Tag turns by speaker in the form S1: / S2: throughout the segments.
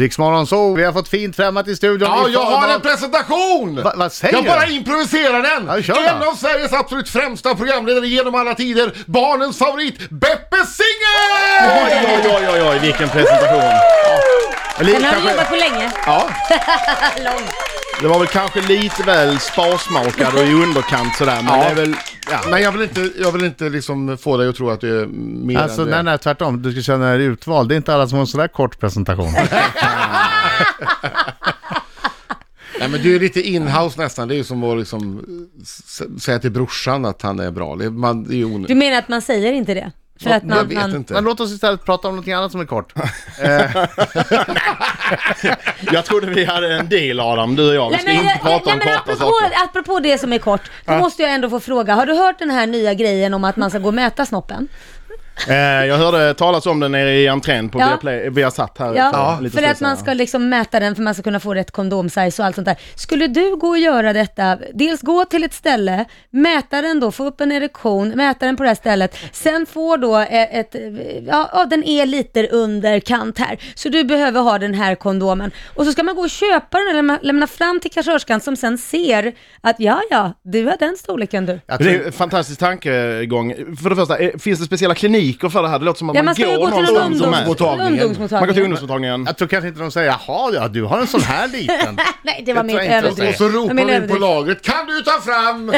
S1: Riksmorgon så, vi har fått fint främmat i studion.
S2: Ja,
S1: I
S2: jag har
S1: förbered-
S2: en presentation!
S1: Va- vad säger
S2: jag
S1: du?
S2: bara improviserar den!
S1: Ja, kör
S2: en
S1: då.
S2: av Sveriges absolut främsta programledare genom alla tider, barnens favorit, Beppe Singer!
S3: Oj, oj, oj, oj, oj, vilken presentation.
S1: Li-
S4: Den har du
S1: kanske-
S4: jobbat på länge.
S3: Ja,
S4: Lång.
S3: det var väl kanske lite väl sparsmakad och i underkant sådär, men
S2: Ja.
S3: det är väl... Ja.
S2: Men jag vill inte, jag vill inte liksom få dig att tro att du är mer
S1: Alltså
S2: än du är.
S1: nej, nej, tvärtom. Du ska känna dig utvald. Det är inte alla som har en sån där kort presentation.
S2: Nej men du är lite inhouse nästan, det är ju som att liksom s- säga till brorsan att han är bra. Det, man, det är ju
S4: Du
S2: onödigt.
S4: menar att man säger inte det? För att man,
S2: Jag vet
S4: man,
S2: inte.
S1: Men låt oss istället prata om något annat som är kort.
S3: Jag trodde vi hade en deal Adam, du och jag. Vi
S4: Nej,
S3: ska
S4: men,
S3: inte
S4: jag-
S3: prata
S4: nej,
S3: om
S4: men
S3: korta
S4: apropå,
S3: saker.
S4: apropå det som är kort, då måste jag ändå få fråga. Har du hört den här nya grejen om att man ska gå och mäta snoppen?
S3: Eh, jag hörde talas om den nere i entrén på
S4: Ja.
S3: Viaplay, Viasat här.
S4: Ja,
S3: för lite
S4: för
S3: stund
S4: att man
S3: sedan.
S4: ska liksom mäta den för man ska kunna få rätt kondomsize och allt sånt där. Skulle du gå och göra detta, dels gå till ett ställe, mäta den då, få upp en erektion, mäta den på det här stället, sen får då eh, ett, eh, ja, ja den är lite under kant här, så du behöver ha den här kondomen. Och så ska man gå och köpa den och lämna, lämna fram till kassörskan som sen ser att ja, ja, du har den storleken du.
S1: Jag
S3: Det
S1: tror,
S3: är en fantastisk tankegång. För det första, eh, finns det speciella kliniker för det här? Det låter som att
S4: Ja,
S3: man
S4: man ska ju
S3: går
S4: gå till
S3: någonstans
S4: någon
S3: och mäter.
S4: ungdomsmottagning.
S3: Man går till ungdomsmottagningen.
S1: jag tror kanske inte de säger jaha, ja, du har en sån här liten.
S4: Nej, det var
S1: Det
S4: mitt
S1: tror jag inte
S4: överdrift.
S2: Och så
S4: Det var
S2: ropar
S4: min
S2: vi in på
S4: överdrift.
S2: lagret, kan du ta fram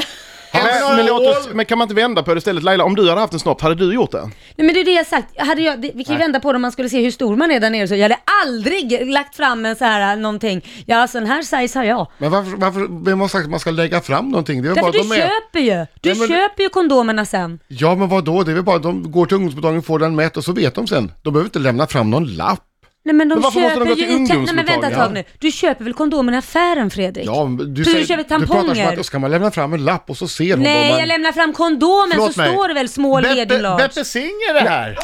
S3: Men, men,
S2: en
S3: låt oss,
S2: nål?
S3: men kan man inte vända på det istället? Laila, om du hade haft en snopp, hade du gjort det?
S4: Nej men det är det jag sagt. Hade jag, det, vi kan ju vända på det om man skulle se hur stor man är där nere så. Jag hade aldrig lagt fram en så här äh, någonting. Ja alltså den här size har jag.
S2: Men varför, varför, vem har sagt att man ska lägga fram någonting? Det är väl bara
S4: Därför
S2: att
S4: du
S2: de är...
S4: köper ju. Du
S2: Nej, men-
S4: köper ju kondomerna sen.
S2: Ja men vad då? det är väl bara att de går till ungdomsmottagningen, får den mätt och så vet de sen. De behöver inte lämna fram någon lapp.
S4: Nej men de
S3: Men varför måste
S4: köper
S3: de gå
S4: ju
S3: till
S4: i... Nej men vänta ett tag nu.
S3: ungdomsmottagningen?
S4: Du köper väl kondomerna i affären Fredrik?
S2: Ja, men
S4: du köper
S2: Du pratar som
S4: tamponger.
S2: att då ska man lämna fram en lapp och så ser hon vad
S4: Nej
S2: man...
S4: jag lämnar fram kondomen så
S1: Förlåt mig.
S4: står det väl small, medium,
S1: Beppe,
S4: large.
S1: Beppe Singer det här!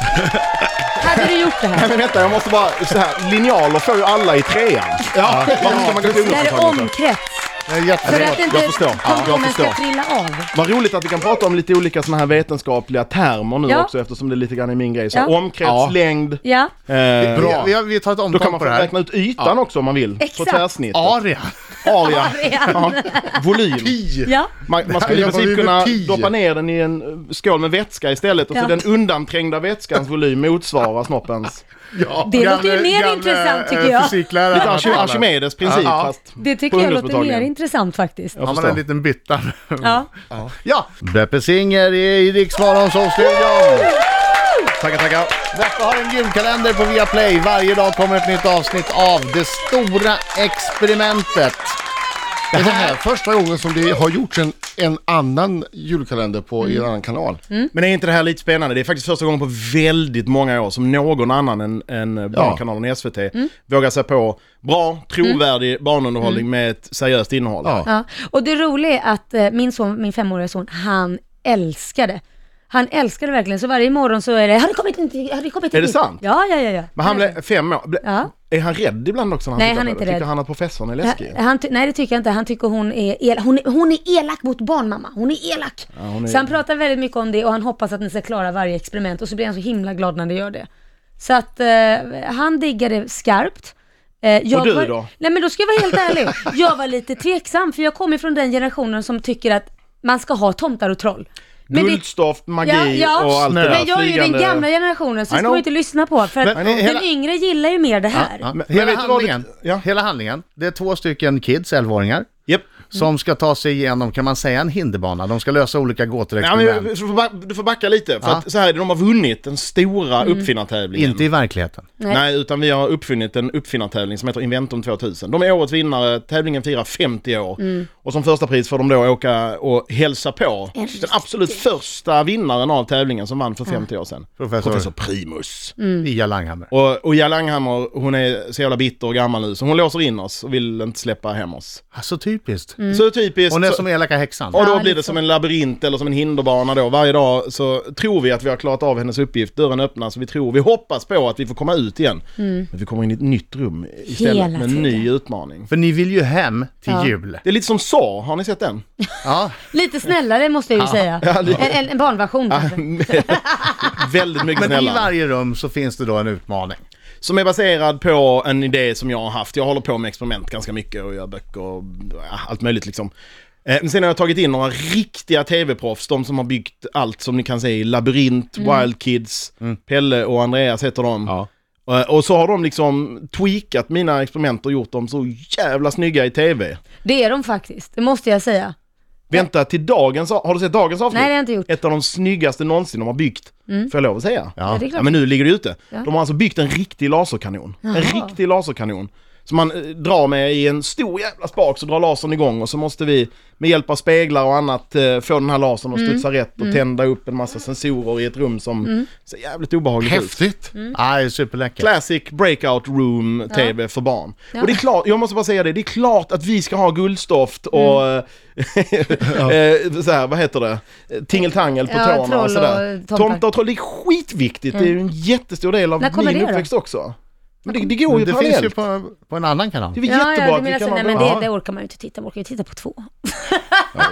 S4: Hade du gjort det
S3: Nej
S4: här?
S3: men vänta, jag måste bara... Så här, linjaler får ju alla i trean. Ja. Varför ska man gå till
S4: Det här är
S3: ungdomsmottagningen? för?
S4: omkrets.
S1: Det är
S4: För
S1: jättebra.
S4: att inte
S3: jag förstår. Ja, jag
S4: kondomen ska
S3: förstår.
S4: trilla av.
S3: Vad roligt att vi kan prata om lite olika såna här vetenskapliga termer nu
S4: Ja.
S3: också eftersom det lite grann är min grej. Så
S4: Ja.
S3: omkrets,
S2: Ja.
S3: längd. Eh,
S4: Ja,
S1: Bra. Vi, vi tar ett
S3: Då kan man
S1: omtag
S3: få
S1: på det här.
S3: räkna ut ytan också om man vill. På
S4: Exakt.
S3: tvärsnitt.
S1: Aria.
S3: Aria.
S4: Aria.
S3: Ja. Volym.
S4: ja.
S3: Man, man
S2: Jag
S3: skulle i
S2: var ju
S3: princip
S2: med
S3: kunna
S2: pi.
S3: doppa ner den i en eh, skål med vätska istället och så
S4: Ja.
S3: den undanträngda vätskans volym motsvarar snoppens.
S2: Ja.
S4: Det låter ju mer intressant tycker
S1: eh,
S4: jag.
S1: Fysiklärare.
S3: Lite
S1: Han
S3: Archi-
S1: talar.
S3: Archimedes princip
S1: Ja.
S3: fast
S4: Det tycker jag
S3: på
S4: låter mer
S3: ungdomsmottagningen.
S4: intressant faktiskt.
S3: Jag
S1: Har man en
S3: förstår.
S1: liten bytta.
S4: Ja.
S1: Ja, Beppe Singer i Riksmorgon som studion
S3: Tackar, tackar.
S1: Beppe har en julkalender på Viaplay. Varje dag kommer ett nytt avsnitt av Det Stora Experimentet.
S2: Det här är första gången som det har gjorts en, en annan julkalender på i en annan kanal.
S4: Mm.
S3: Men är inte det här lite spännande? Det är faktiskt första gången på väldigt många år som någon annan än, än Barnkanalen och SVT
S4: Mm.
S3: vågar sig på bra, trovärdig barnunderhållning
S4: Mm.
S3: med ett seriöst innehåll.
S2: Ja.
S4: Ja. Och det roliga är att eh, min son, min femåriga son, han älskade. Han älskade verkligen, så varje morgon så är det, har det kommit en till? Har det kommit en
S3: Är det
S4: till?"
S3: sant?
S4: Ja, ja, ja. ja.
S3: Men han blev fem år. Ble-
S4: Mm. Ja.
S3: Är han rädd ibland också när han
S4: Nej, han
S3: tittar på
S4: är inte
S3: det? Tycker
S4: rädd.
S3: han att professorn är
S4: Ja,
S3: läskig?
S4: Eh, han, ty- nej det tycker jag inte. Han tycker hon är, el- hon är, hon är elak mot barn mamma. Hon är elak.
S3: hon är-
S4: Så han pratar väldigt mycket om det och han hoppas att ni ska klara varje experiment och så blir han så himla glad när ni gör det. Så att eh, han diggar det skarpt. Eh, jag
S3: Och du
S4: var,
S3: då?
S4: Nej men då ska jag vara helt ärlig. Jag var lite tveksam för jag kommer från den generationen som tycker att man ska ha tomtar och troll. Men det-
S3: Guldstoft, magi
S4: Ja, ja.
S3: och allt det där
S4: Men jag är ju den
S3: flygande-
S4: gamla generationen så
S3: I
S4: det ska
S3: know.
S4: man ju inte lyssna på för att
S1: Men
S4: den
S1: hela-
S4: yngre gillar ju mer det här.
S1: Ja,
S3: Men- men
S1: hela,
S3: vet du vad det-
S1: handlingen,
S3: ja.
S1: hela handlingen, det är två stycken kids, 11-åringar,
S3: Japp.
S1: som ska ta sig igenom, kan man säga, en hinderbana. De ska lösa olika gåtor och
S3: Ja, men,
S1: experiment.
S3: du får ba- du får backa lite, för
S1: Ja.
S3: att så här är det, de har vunnit den stora uppfinnartävlingen.
S1: Inte i verkligheten.
S4: Nej.
S3: Nej, utan vi har uppfunnit en uppfinnartävling som heter Inventum 2000. De är årets vinnare, tävlingen firar 50 år. Och som första pris får de då åka och hälsa på den absolut första vinnaren av tävlingen som vann för 50 år sedan.
S1: Professor.
S3: Professor Primus.
S1: Ia Langhammer.
S3: Och, och Gia Langhammer, hon är så jävla bitter och gammal nu så hon låser in oss och vill inte släppa hem oss.
S1: Så typiskt.
S3: Så typiskt.
S1: Hon är
S3: så-
S1: som elaka häxan.
S3: och då
S4: Ja,
S3: blir det
S4: lite
S3: som en labyrint eller som en hinderbana då. Varje dag så tror vi att vi har klarat av hennes uppgift. Dörren öppnas och vi tror, vi hoppas på att vi får komma ut igen. Men vi kommer in i ett nytt rum istället
S4: Mm. Hela
S3: med en
S4: tiden.
S3: ny utmaning.
S1: För ni vill ju hem till
S4: Ja.
S1: jul.
S3: Det är lite som Saw, har ni sett den?
S1: Ja.
S4: Lite snällare måste jag ju säga. En, en, en barnversion kanske.
S3: Väldigt mycket
S1: Men i
S3: snällare.
S1: varje rum så finns det då en utmaning.
S3: Som är baserad på en idé som jag har haft. Jag håller på med experiment ganska mycket och gör böcker och ja, allt möjligt liksom. Eh, Men sen har jag tagit in några riktiga tv-proffs, de som har byggt allt som ni kan se i Labyrint,
S4: Mm.
S3: Wild Kids, Pelle och Andreas heter de.
S2: Ja.
S3: Eh, Och så har de liksom tweakat mina experiment och gjort dem så jävla snygga i tv.
S4: Det är de faktiskt, det måste jag säga.
S3: Vänta till dagens, har du sett dagens avsnitt?
S4: Nej, det har jag inte gjort. Mm.
S3: Ett av de snyggaste någonsin de har byggt, får jag lov att säga.
S4: Ja, det är klart.
S3: men nu ligger det ute.
S4: Ja.
S3: De har alltså byggt en riktig laserkanon. En riktig laserkanon. Som man eh, drar med i en stor jävla spak så drar lasern igång och så måste vi med hjälp av speglar och annat eh, få den här lasern att
S4: Mm.
S3: studsa rätt och tända upp en massa sensorer i ett rum som ser jävligt obehagligt ut.
S2: Häftigt!
S4: Mm.
S1: Ja, det är superläckert.
S3: Classic breakout room TV för barn. Och det är klart, jag måste bara säga det, det är klart att vi ska ha guldstoft
S4: Mm.
S3: och eh, eh, så här, vad heter det, Eh, tingeltangel på
S4: Ja,
S3: tårna och
S4: troll
S3: sådär.
S4: och tomtar. Mm.
S3: Tomtar och troll, det är skitviktigt, det är ju en jättestor del av
S4: När kommer
S3: min
S4: det då?
S3: uppväxt också. Men det, det går ju
S1: Men det finns
S3: parallellt.
S1: ju på, på en annan kanal.
S3: Det är väl
S4: Ja,
S3: jättebra
S4: ja, du
S3: att vi
S4: menar så,
S3: kan
S4: nej
S3: ha
S4: men
S3: bra.
S4: det, det orkar man ju inte titta, man orkar ju titta på två.
S3: Och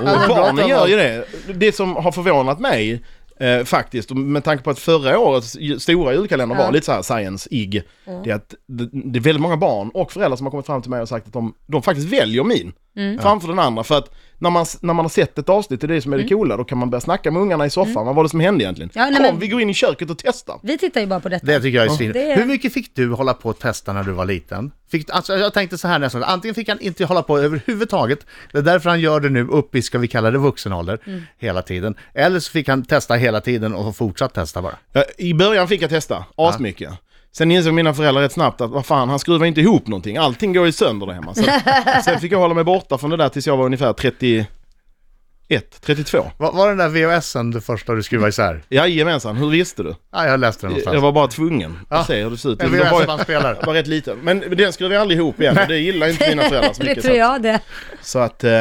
S3: barnen
S1: Pratar
S3: gör
S1: om-
S3: ju det. Det som har förvånat mig eh, faktiskt, och med tanke på att förra årets ju- stora julkalender var
S4: Ja.
S3: lite så här science-ig, det är att det, det är väldigt många barn och föräldrar som har kommit fram till mig och sagt att de, de faktiskt väljer min
S4: Mm.
S3: framför den andra. För att när man, s- när man har sett ett avsnitt, det är det som är det coola, då kan man börja snacka med ungarna i soffan, vad var det som hände egentligen?
S4: Mm. Ja, nej, men-
S3: Kom, vi går in i köket och testar.
S4: Vi tittar ju bara på detta.
S1: Det tycker jag är svin.
S4: Det är-
S1: Hur mycket fick du hålla på och testa när du var liten? Fick, alltså, jag tänkte så här nästan, antingen fick han inte hålla på överhuvudtaget, det är därför han gör det nu upp i, ska vi kalla det vuxen ålder,
S4: Mm.
S1: hela tiden. Eller så fick han testa hela tiden och fortsatt testa bara.
S3: Ja, I början fick jag testa asmycket. Sen insåg mina föräldrar rätt snabbt att vad fan, han skruvar inte ihop någonting. Allting går ju sönder där hemma. Så, sen fick jag hålla mig borta från det där tills jag var ungefär 31, 32.
S1: Var, var den där VHSen det första du skruvade isär?
S3: Jajamensan, hur visste du?
S1: Ja, jag läste den någonstans.
S3: Jag var bara tvungen att se hur det ser ut.
S1: En
S3: Det var,
S1: VHS man spelar.
S3: jag var rätt liten. Men den skruvade jag aldrig ihop igen och det gillar inte mina föräldrar så
S4: det
S3: mycket.
S4: tror jag det.
S3: Så att... eh,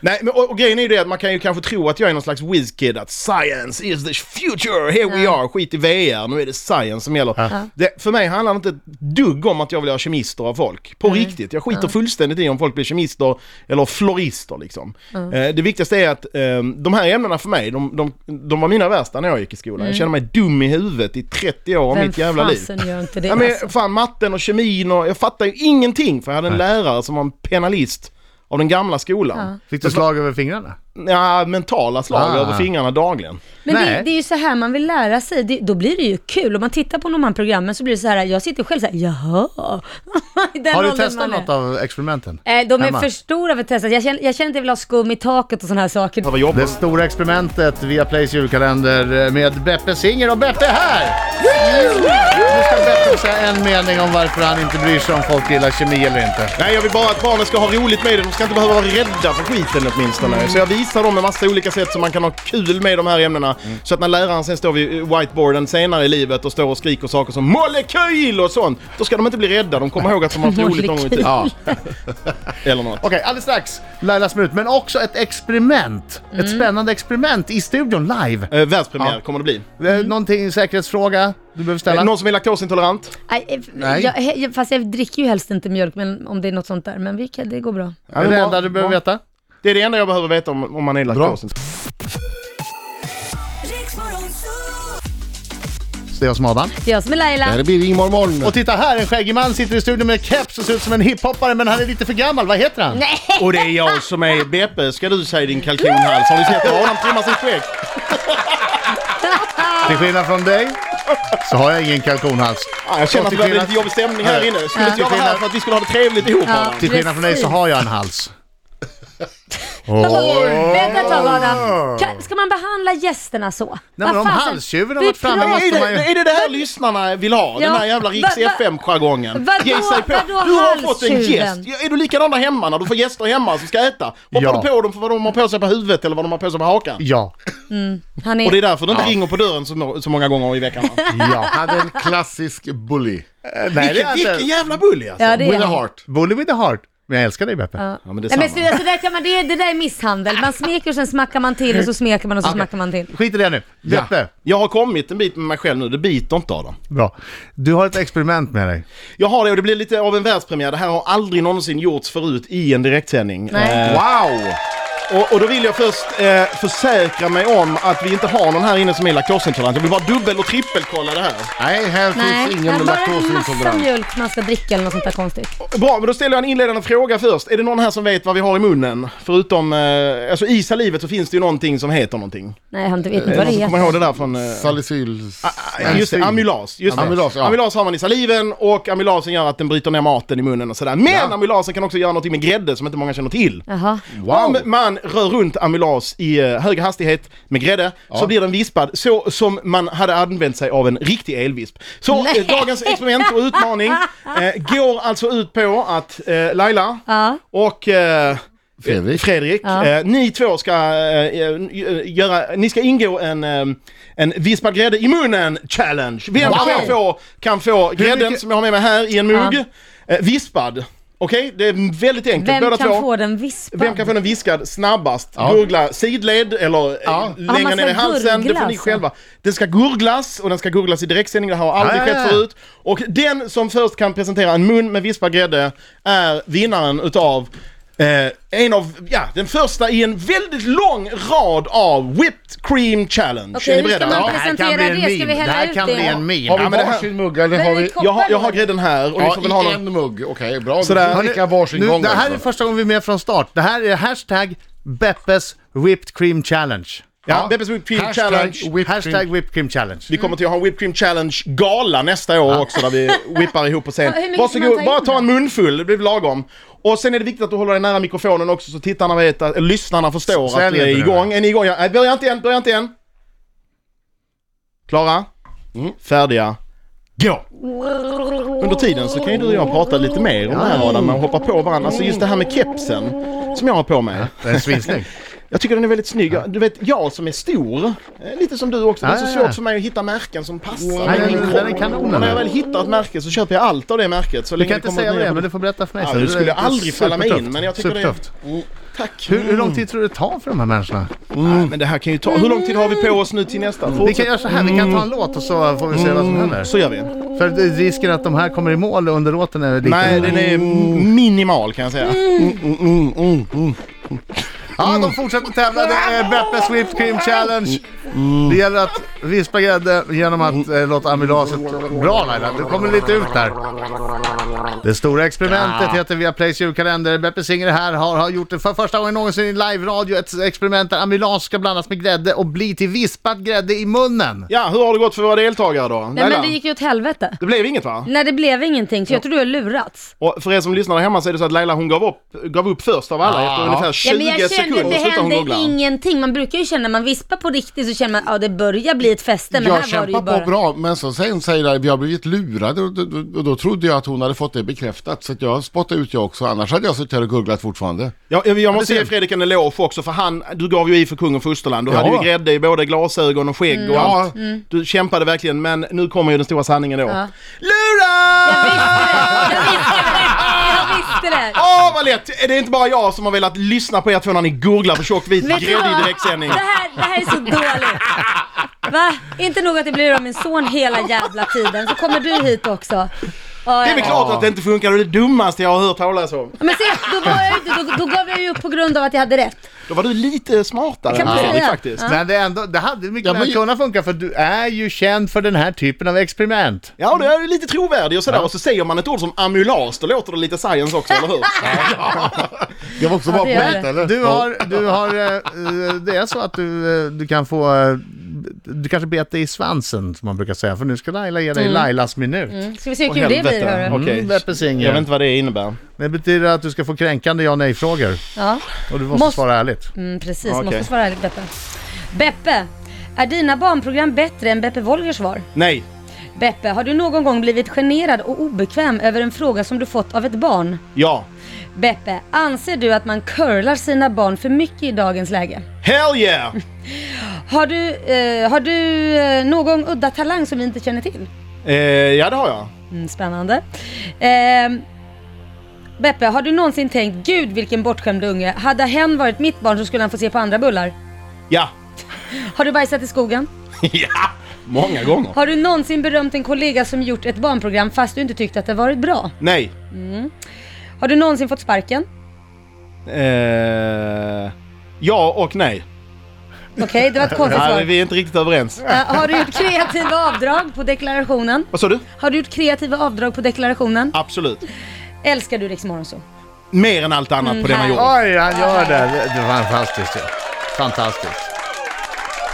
S3: nej, men och, och grejen är ju det att man kan ju kanske tro att jag är någon slags whiz-kid, att science is the future, here we are, skit i VR, nu är det science som gäller. Det, för mig handlar det inte ett dugg om att jag vill göra kemister av folk, på riktigt. Jag skiter fullständigt i om folk blir kemister eller florister liksom. Eh, det viktigaste är att eh, de här ämnena för mig, de, de, de var mina värsta när jag gick i skolan. Jag kände mig dum i huvudet i 30 år av
S4: Mm. Vem
S3: mitt jävla liv.
S4: fasen gör inte det
S3: Ja, men
S4: alltså?
S3: fan matten och kemin och jag fattar ju ingenting för jag hade en lärare som var en penalist av den gamla skolan.
S1: Fick du slag över fingrarna?
S3: Ja, mentala slag
S1: Ah.
S3: över fingrarna dagligen.
S4: Men det,
S1: Nej.
S4: det är ju så här man vill lära sig, det, då blir det ju kul. Om man tittar på de här programmen så blir det så här, jag sitter själv så här, jaha. I den
S1: Har du
S4: åldern
S1: testat
S4: man är.
S1: något av experimenten?
S4: Eh, de är
S1: Emma?
S4: för stora för att testa. Jag känner, jag känner att jag vill ha skum i taket och sådana här saker.
S3: Det var jobbigt.
S1: Det stora experimentet via Plays julkalender med Beppe Singer och Beppe är här! Nu ska Beppe säga en mening om varför han inte bryr sig om folk gillar kemi eller inte.
S3: Nej, jag vill bara att barnen ska ha roligt med det. De ska inte behöva vara rädda för skiten åtminstone.
S1: Mm.
S3: Så jag visar dem en massa olika sätt som man kan ha kul med de här ämnena.
S1: Mm.
S3: Så att när läraren sen står vid whiteboarden senare i livet och står och skriker saker som molekyl och sånt. Då ska de inte bli rädda. De kommer ihåg att de har haft roligt någon gång i tiden.
S1: Ja.
S3: Eller något.
S1: Okej, alldeles strax Laila Smut, men också ett experiment. Ett spännande experiment i studion live.
S3: Eh, Världspremiär
S1: Ja.
S3: kommer det bli.
S1: Mm. Någonting, säkerhetsfråga du behöver ställa?
S3: Eh, Någon som är laktosintolerant?
S4: Nej, eh,
S1: Nej.
S4: Jag, he- fast jag dricker ju helst inte mjölk men om det är något sånt där. Men vi kan, det går bra.
S1: Är det det enda du behöver veta?
S3: Det är det enda jag behöver veta om, om man är laktosintolerant.
S1: Så det är jag som är Adam.
S4: Det är jag som är
S2: Det
S4: Laila.
S2: här blir Ingmar morgon.
S1: Och titta här, en skäggig man sitter i studion med keps och ser ut som en hiphoppare men han är lite för gammal. Vad heter han? Nej.
S3: Och det är jag som är Beppe, ska du säga din kalkonhals. Har du sett hur Adam trimmar sitt skägg?
S1: Till skillnad från dig så har jag ingen kalkonhals.
S3: Ja, jag känner att det börjar bli lite jobbig stämning här
S1: Nej.
S3: inne. Skulle inte jag vara här för att vi skulle ha det trevligt ihop
S4: Ja.
S3: Adam?
S1: Till skillnad från dig så
S4: Precis.
S1: har jag en hals.
S4: Vänta ett tag Adam. Kan, ska man behandla gästerna så?
S1: Nej, men
S4: Vad
S1: om
S4: fasen?
S1: halstjuven har
S4: Vi
S1: varit framme
S4: pratar-
S1: måste
S3: Är
S1: man ju...
S3: det, är det det här lyssnarna vill ha? Den
S4: Ja.
S3: här jävla Riks
S4: Va- va-
S3: FM-jargongen?
S4: Vadå-
S3: Ge sig på. Du
S4: vadå
S3: har fått en
S4: halstjuven?
S3: gäst. Ja, Är du likadan där hemma när du får gäster hemma som ska äta? Hoppar
S1: Ja.
S3: du på dem för vad de har på sig på huvudet eller vad de har på sig på hakan?
S1: Ja.
S4: Han
S3: Och det är
S4: är...
S3: därför du inte ringer på dörren så, må- så många gånger i veckan. va?
S1: Ja. Eh,
S2: Hade en klassisk bully.
S1: Nej, det
S3: vilken,
S1: är
S3: vilken
S1: inte...
S3: jävla bully alltså!
S4: Ja, det är
S2: With a
S4: han.
S2: heart.
S1: Bully with a heart. Men jag älskar dig Beppe.
S3: Ja, men det är
S4: Nej, men
S3: samma.
S4: så, alltså, där kan man, det, det där är misshandel. Man smeker och sen smackar man till och så smeker man och så smackar man till.
S1: Skit i det nu. Beppe,
S3: Jag har kommit en bit med mig själv nu, det biter inte Adam.
S1: bra. Du har ett experiment med dig.
S3: Jag har det och det blir lite av en världspremiär. Det här har aldrig någonsin gjorts förut i en direktsändning.
S4: Nej.
S3: Eh,
S2: Wow!
S3: Och, och då vill jag först eh, försäkra mig om att vi inte har någon här inne som är laktosintolerant. Jag vill bara dubbel och trippelkolla det här.
S2: Nej, här
S4: Nej,
S2: finns
S4: det
S2: ingen
S4: är bara en massa
S2: laktosintolerans.
S4: mjölk man ska dricka eller något sånt där konstigt.
S3: Bra, men då ställer jag en inledande fråga först. Är det någon här som vet vad vi har i munnen? Förutom, eh, alltså i salivet så finns det ju någonting som heter någonting.
S4: Nej, han vet inte
S3: Är det
S4: vad det
S3: någon som Eh, kommer
S4: heter.
S3: ihåg det där från... Eh,
S2: Salicyl...
S3: Ah, Just det, amylas. Just det.
S2: Amylas, ja.
S3: amylas har man i saliven och amylasen gör att den bryter ner maten i munnen och sådär. Men amylasen kan också göra något med grädde som inte många känner till.
S4: Jaha.
S3: Om man rör runt amylas i eh, hög hastighet med grädde så blir den vispad så som man hade använt sig av en riktig elvisp. Så
S4: Nej.
S3: eh, dagens experiment och utmaning eh, går alltså ut på att eh, Laila
S4: Ja.
S3: och eh,
S2: Fredrik.
S3: Fredrik,
S4: Ja.
S3: eh, ni två ska eh, eh, göra, ni ska ingå en, eh, en vispad grädde i munnen challenge. Vem
S4: Wow.
S3: kan få, kan få grädden
S2: mycket-
S3: som jag har med mig här i en mugg, eh, vispad. Okej, det är väldigt enkelt.
S4: Vem
S3: Båda
S4: kan
S3: två.
S4: få den vispad?
S3: Vem kan få den viskad snabbast?
S2: Ja.
S3: Gurgla sidled eller ja.
S4: Ah,
S3: längre
S4: man
S3: ner i
S4: ska
S3: halsen. Det
S4: gurgla
S3: får ni
S4: alltså.
S3: själva. Den ska gurglas och den ska gurglas i direktsändning. Det här har aldrig
S1: Ja, ja,
S3: skett
S1: ja.
S3: förut. Och den som först kan presentera en mun med vispad grädde är vinnaren utav Eh, en av, ja, den första i en väldigt lång rad av Whipped Cream Challenge.
S4: Okej,
S3: är ni
S4: hur ska
S3: beredda?
S4: man-
S3: Ja.
S1: här kan
S4: presentera
S1: bli en
S4: det. Ska vi
S1: meme.
S4: hälla
S1: Det här
S4: ut
S1: kan
S4: det?
S1: bli en meme.
S2: Har vi
S3: Ja, men det här-
S2: varsin mugg eller har vi...
S3: Jag, har- jag har grädden här och ni får väl ha
S2: Ja, i
S3: någon...
S2: en mugg. Okej, bra.
S3: Sådär.
S2: Sådär. Vi dricker varsin
S1: nu,
S2: gång.
S1: det här är
S2: alltså.
S1: första gången vi är med från start. Det här är hashtag Beppes Whipped Cream Challenge.
S3: Ja, Beppes Whipped Cream
S2: Hashtag
S3: Challenge.
S2: Whipped Cream.
S1: hashtag Whipped Cream Challenge.
S3: Vi kommer till att ha en Whipped Cream Challenge-gala nästa år också där vi whippar ihop på scen.
S4: Ja, hur mycket ska man ta
S3: Varsågod, bara
S4: in
S3: ta
S4: då?
S3: en munfull, det blir lagom. Och sen är det viktigt att du håller dig nära mikrofonen också så tittarna vet, att, eller lyssnarna förstår
S1: Så här
S3: att vi är
S1: lever det.
S3: igång. Är ni igång? Ja, nej, börja inte än, börja inte än. Klara?
S1: Mm.
S3: Färdiga? Gå! Under tiden så kan ju du och jag prata lite mer om det här Adam, och hoppa på varandra. Alltså just det här med kepsen som jag har på mig.
S1: Den är svinsnygg.
S3: Jag tycker den är väldigt snygg. Du vet, jag som är stor, eh, lite som du också, det är
S1: Ja,
S3: så
S1: ja, ja.
S3: svårt för mig att hitta märken som passar
S1: Nej,
S3: med min
S1: men
S3: kropp.
S1: den är kanon,
S3: Och när jag
S1: eller?
S3: väl hittar ett märke så köper jag allt av det märket. Så
S1: Du kan inte säga vad det är, men du
S3: det
S1: får berätta för mig
S3: Ja,
S1: sen.
S3: Alltså, du
S1: Det är-
S3: skulle
S1: det är
S3: aldrig falla mig
S1: supertufft.
S3: in, men jag tycker det är- Mm,
S1: Supertufft.
S3: Tack!
S1: Hur, Mm. hur lång tid tror du det tar för de här människorna?
S3: Nej, men det här kan ju ta... Hur lång tid har vi på oss nu till nästa?
S1: Vi kan
S3: Fortsätt.
S1: göra så här, vi kan
S3: Mm.
S1: ta en låt och så får vi se vad som händer.
S3: Så gör vi.
S1: För det- risken att de här kommer i mål under låten är lite...
S3: Mm. Nej, den är minimal kan jag säga.
S4: Mm.
S1: Ja,
S2: Mm.
S1: de fortsätter tävla. Det är Beppes Whipped Cream Challenge. Det gäller att vispa grädde genom att eh, låta amylaset... Bra Laila, du kommer lite ut där. Det stora experimentet heter Viaplays julkalender. Beppe Singer här har, har gjort det för första gången någonsin i live-radio. Ett experiment där amylas ska blandas med grädde och bli till vispad grädde i munnen.
S3: Ja, hur har det gått för våra deltagare då?
S4: Nej
S3: Laila?
S4: men det gick ju åt helvete.
S3: Det blev inget va?
S4: Nej det blev ingenting, så jag tror du har lurats.
S3: Och för er som lyssnar där hemma så är det så att Laila hon gav upp, gav upp först av alla.
S1: Ah.
S3: Efter ungefär 20
S4: Ja, men jag kände att
S3: sekunder
S4: det
S3: slutade hon
S4: hände
S3: googla.
S4: ingenting. Man brukar ju känna när man vispar på riktigt så känner man att ja, det börjar bli ett fäste. Men
S2: jag
S4: här var det
S2: kämpar
S4: ju bara...
S2: på bra, men så sen säger jag vi har blivit lurade och, och, och då trodde jag att hon hade fått det bekräftat. Så att jag spottade ut jag också, annars hade jag suttit här och googlat fortfarande.
S3: Ja, jag, jag måste
S1: det
S3: ge
S1: ser-
S3: Fredrik en eloge också för han, du gav ju i för kung och fosterland. Du hade ju grädde i både glasögon och skägg och
S2: Ja.
S3: allt. Du kämpade verkligen men nu kommer ju den stora sanningen då.
S4: Mm. Ja. Jag
S3: Lura!
S4: visste det! Jag visste det!
S3: Åh vad lätt! Det är inte bara jag som har velat lyssna på er två när ni googlar på tjock vit
S4: Vet du
S3: grädde
S4: vad?
S3: i direktsändning.
S4: Det här, det här är så dåligt. Va? Inte nog att jag blir av min son hela jävla tiden, så kommer du hit också. Ja,
S3: Det är väl
S4: ja.
S3: klart att det inte funkar och det dummaste jag har hört talas om.
S4: Men se, då, var jag, ute, då, då gav jag ju upp på grund av att jag hade rätt.
S3: Då var du lite smartare
S4: Kan
S3: än
S4: man
S3: Fredrik
S4: säga?
S3: faktiskt.
S1: Men det, är ändå, det hade mycket
S2: Ja,
S1: väl
S2: men-
S1: kunnat funka för du är ju känd för den här typen av experiment.
S3: Ja, och det är ju lite trovärdig och sådär. Och så säger man ett ord som amylas, då låter det lite science också, eller hur?
S2: Jag var också
S4: Ja,
S2: bara
S4: det
S2: på
S4: gör
S2: hit,
S4: det.
S2: eller?
S1: Du har, du har, eh, eh, det är så att du, eh, du kan få, eh, du kanske bete i svansen som man brukar säga, för nu ska Laila ge dig Lailas minut.
S4: Ska vi se hur
S3: Åh,
S4: kul det blir
S3: helvete.
S4: hörru.
S3: Okej.
S1: Mm, Beppe
S3: Jag vet
S1: Singer.
S3: inte vad det innebär.
S1: Det betyder att du ska få kränkande ja nej-frågor.
S4: Ja.
S1: Och du måste,
S4: Måste-
S1: svara ärligt.
S4: Mm, precis,
S3: Okej.
S4: måste svara ärligt Beppe. Beppe, är dina barnprogram bättre än Beppe Wolgers var?
S3: Nej.
S4: Beppe, har du någon gång blivit generad och obekväm över en fråga som du fått av ett barn?
S3: Ja.
S4: Beppe, anser du att man curlar sina barn för mycket i dagens läge?
S3: Hell yeah!
S4: Har du, eh, har du eh, någon udda talang som vi inte känner till?
S3: Eh, ja, det har jag.
S4: Mm, spännande. Ehm, Beppe, har du någonsin tänkt gud vilken bortskämd unge, hade hen varit mitt barn så skulle han få se på andra bullar?
S3: Ja.
S4: Har du bajsat i skogen?
S3: ja. Många gånger.
S4: Har du någonsin berömt en kollega som gjort ett barnprogram fast du inte tyckt att det varit bra?
S3: Nej.
S4: Har du någonsin fått sparken?
S3: Eh, Ja och nej.
S4: Okej, det var ett konstigt
S3: nej
S4: svar.
S3: vi är inte riktigt överens.
S4: Eh, har du gjort kreativa avdrag på deklarationen?
S3: Vad sa du?
S4: Har du gjort kreativa avdrag på deklarationen?
S3: Absolut.
S4: Älskar du Rix Morgonzoo?
S3: Mer än allt annat på
S4: Mm,
S3: denna jord.
S1: Oj, han gör det. Det var fantastiskt ju. Fantastiskt.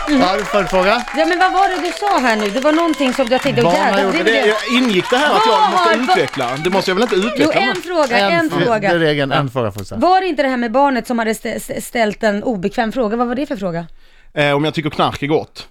S1: Varför fråga?
S4: Ja men vad var det du sa här nu? Det var någonting som jag tänkte, åh
S1: Barn har
S4: jävlar,
S1: gjort
S4: det är
S3: Det,
S4: väl det.
S3: jag ingick det här att jag
S4: Vad
S3: måste
S4: har-
S3: utveckla? Det måste jag väl inte
S4: Jo,
S3: utveckla?
S4: en fråga, en,
S1: Det är
S4: fråga.
S1: regeln, en fråga får du säga.
S4: Var det inte det här med barnet som hade st- st- ställt en obekväm fråga? Vad var det för fråga?
S3: Eh, om jag tycker knark är gott.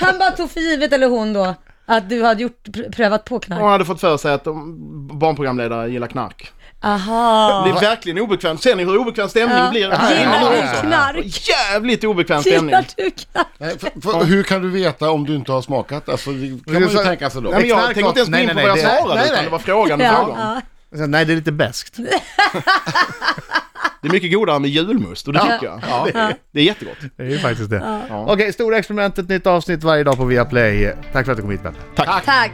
S4: Han bara tog för givet, eller hon då, att du hade gjort, pr- prövat på knark.
S3: Hon hade fått för sig att de- barnprogramledare gillar knark.
S4: Aha.
S3: Det är verkligen obekvämt. Ser ni hur obekväm stämning
S4: Ja.
S3: blir?
S4: Gillar
S3: Ja.
S4: du knark?
S3: Jävligt obekväm stämning.
S4: Gillar du knark?
S2: Nej, Eh, för, för, hur kan du veta om du inte har smakat? Alltså, det kan man ju
S1: så-
S2: tänka sig då.
S3: Nej, men jag
S1: Knark
S3: tänker inte ens gå
S1: gott.
S3: in på
S1: Nej,
S3: vad
S1: nej,
S3: jag
S1: nej, det-
S3: svarade
S1: nej,
S3: utan
S1: nej.
S3: det var frågan och
S4: Ja,
S3: frågan.
S4: ja.
S1: Nej, det är lite bäst.
S3: Det är mycket godare med julmust och det tycker jag. Ja. Det är jättegott.
S1: Det är ju faktiskt det. Okej, Stora Experimentet, nytt avsnitt varje dag på Viaplay. Tack för att du kom hit, Ben.
S4: Tack.